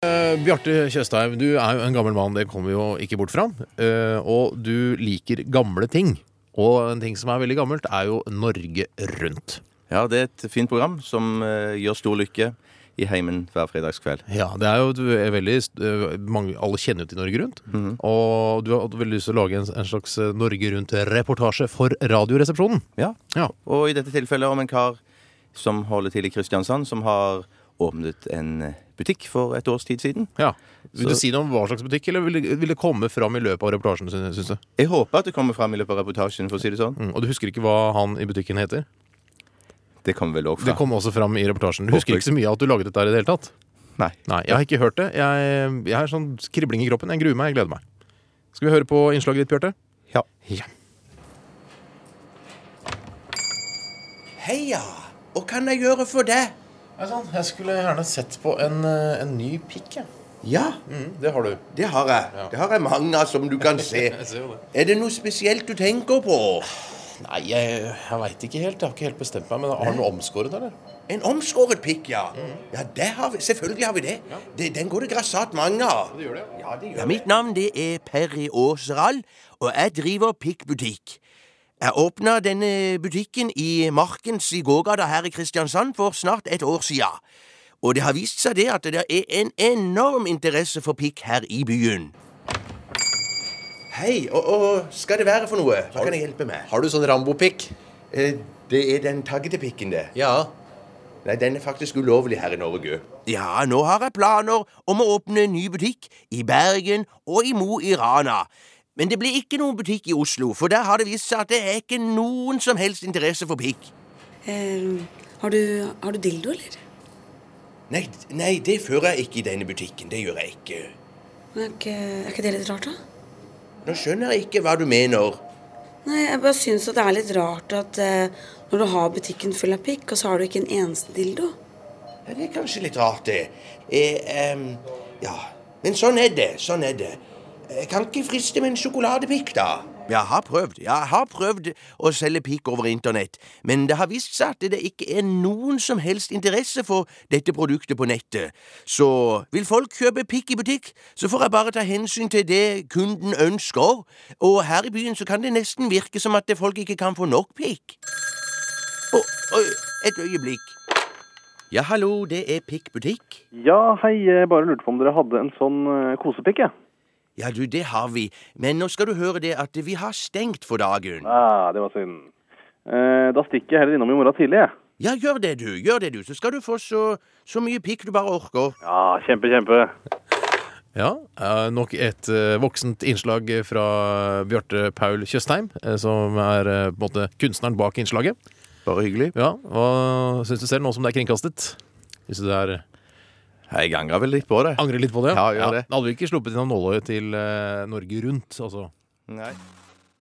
Eh, Bjarte Tjøstheim, du er jo en gammel mann, det kommer vi jo ikke bort fra. Eh, og du liker gamle ting. Og en ting som er veldig gammelt, er jo Norge Rundt. Ja, det er et fint program som eh, gjør stor lykke i heimen hver fredagskveld. Ja, det er jo et ve- veldig st- eh, mange, Alle kjenner jo til Norge Rundt. Og du har hatt veldig lyst til å lage en, en slags eh, Norge Rundt-reportasje for Radioresepsjonen. Ja. Ja. Og i dette tilfellet om en kar som holder til i Kristiansand, som har åpnet en eh, butikk for et års tid siden. ja. Vil du Så- si noe om hva slags butikk, eller vil det, vil det komme fram i løpet av reportasjen? Synes, synes du? Jeg håper at det kommer fram i løpet av reportasjen, for å si det sånn. Mm, og du husker ikke hva han i butikken heter? Det kommer vel òg Det fram. kom også fram i reportasjen. Du husker ikke så mye av at du laget dette her i det hele tatt? Nei. Nei, jeg har ikke hørt det. Jeg, jeg har sånn kribling i kroppen. Jeg gruer meg. Jeg gleder meg. Skal vi høre på innslaget ditt, Bjarte? Ja. Ja. Heia! Hva kan jeg gjøre for deg? sånn. Jeg skulle gjerne sett på en, ny pikk. Ja, Mm, det har du. det har jeg. Det har jeg mange av, som du kan se. ser jo det. Er det noe spesielt du tenker på? Nei, jeg, jeg veit ikke helt. Jeg har ikke helt bestemt meg. Men har du noe omskåret, eller? En omskåret pikk, ja. Ja, det har vi. Selvfølgelig har vi det. det den går det grassat mange av. Det gjør det, ja. Ja, mitt navn det er Perry Åseral, og jeg driver pikkbutikk. Jeg åpna denne butikken i Markens i gågata her i Kristiansand for snart et år sia. Og det har vist seg det at det er en enorm interesse for pikk her i byen. Hei, og, og skal det være for noe? Hva kan jeg hjelpe med? Har du sånn Rambo-pikk? Eh, Det er den taggete pikken, det. Ja. Nei, den er faktisk ulovlig her i Norge. Ja, nå har jeg planer om å åpne en ny butikk i Bergen og i Mo i Rana. Men det blir ikke noen butikk i Oslo, for der har det vist seg at det er ikke noen som helst interesse for pikk. Eh, har, du, har du dildo, eller? Nei, nei, det fører jeg ikke i denne butikken. Det gjør jeg ikke. Er ikke, er ikke det litt rart, da? Nå skjønner jeg ikke hva du mener. Nei, jeg bare syns at det er litt rart at eh, når du har butikken full av pikk, og så har du ikke en eneste dildo. Ja, det er kanskje litt rart, det. Eh, em, ja, men sånn er det. Sånn er det. Jeg kan ikke friste med en sjokoladepikk, da. Jeg har prøvd. Jeg har prøvd å selge pikk over internett, men det har vist seg at det ikke er noen som helst interesse for dette produktet på nettet. Så vil folk kjøpe pikk i butikk, så får jeg bare ta hensyn til det kunden ønsker, og her i byen så kan det nesten virke som at det folk ikke kan få nok pikk. Å, oi, et øyeblikk. Ja, hallo, det er pikkbutikk. Ja, hei. Jeg bare lurte på om dere hadde en sånn eh, kosepikk, jeg. Ja, du, det har vi. Men nå skal du høre det at vi har stengt for dagen. Ah, det var synd. Eh, da stikker jeg heller innom i morgen tidlig, jeg. Ja, gjør det, du. Gjør det, du. Så skal du få så, så mye pikk du bare orker. Ja, Ah, kjempe, kjempe. Ja, eh, Nok et eh, voksent innslag fra Bjarte Paul Tjøstheim, eh, som er eh, på en måte kunstneren bak innslaget. Bare hyggelig. Ja, Hva syns du selv nå som det er kringkastet? Hvis du er Jeg angrer vel litt på det. Angrer litt på det? Ja, gjør det. Da hadde vi ikke sluppet inn av nåløyet til eh, Norge Rundt, altså. Nei.